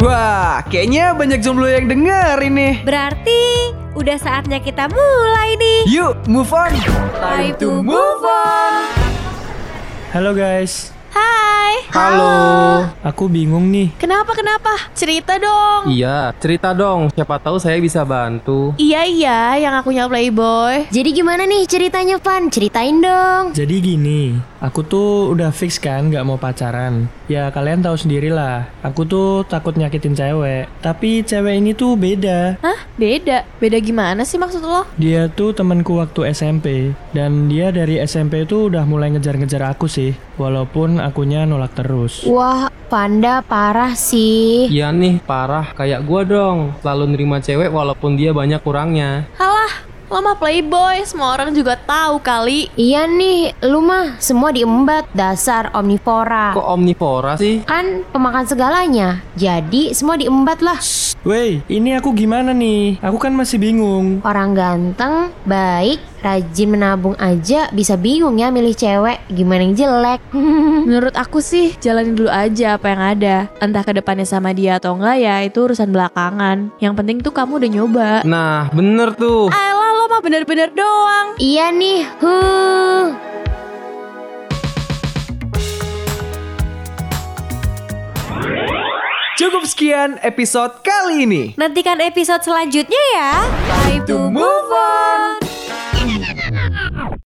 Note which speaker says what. Speaker 1: Wah, kayaknya banyak jomblo yang denger ini.
Speaker 2: Berarti udah saatnya kita mulai nih.
Speaker 1: Yuk, move on.
Speaker 2: Time to move
Speaker 1: on.
Speaker 3: Halo guys,
Speaker 2: Hai.
Speaker 1: Halo.
Speaker 3: aku bingung nih.
Speaker 2: Kenapa kenapa? Cerita dong.
Speaker 4: Iya, cerita dong. Siapa tahu saya bisa bantu.
Speaker 5: Iya iya yang akunya Playboy
Speaker 2: Jadi gimana nih ceritanya Pan? Ceritain dong.
Speaker 3: Jadi gini, aku tuh udah fix kan gak mau pacaran. Ya kalian tahu sendirilah, aku tuh takut nyakitin cewek. Tapi cewek ini tuh beda.
Speaker 5: Hah? Beda? Beda gimana sih maksud lo?
Speaker 3: Dia tuh temanku waktu SMP dan dia dari SMP tuh udah mulai ngejar-ngejar aku sih, walaupun akunya nolak terus.
Speaker 6: Wah, panda parah sih.
Speaker 4: Iya nih, parah. Kayak gua dong. Selalu nerima cewek walaupun dia banyak kurangnya.
Speaker 5: Halah lo mah Playboy semua orang juga tahu kali
Speaker 6: Iya nih, lu mah semua diembat dasar omnivora.
Speaker 4: Kok omnivora sih?
Speaker 6: Kan pemakan segalanya, jadi semua diembat lah.
Speaker 3: Woi, ini aku gimana nih? Aku kan masih bingung.
Speaker 6: Orang ganteng, baik, rajin menabung aja bisa bingung ya milih cewek gimana yang jelek.
Speaker 5: Menurut aku sih jalanin dulu aja apa yang ada Entah ke depannya sama dia atau enggak ya itu urusan belakangan Yang penting tuh kamu udah nyoba
Speaker 4: Nah, bener tuh.
Speaker 5: Ayolah lo mah bener-bener doang
Speaker 6: iya nih, huh.
Speaker 1: Cukup sekian episode kali ini.
Speaker 2: Nantikan episode selanjutnya ya. Time
Speaker 1: To move on.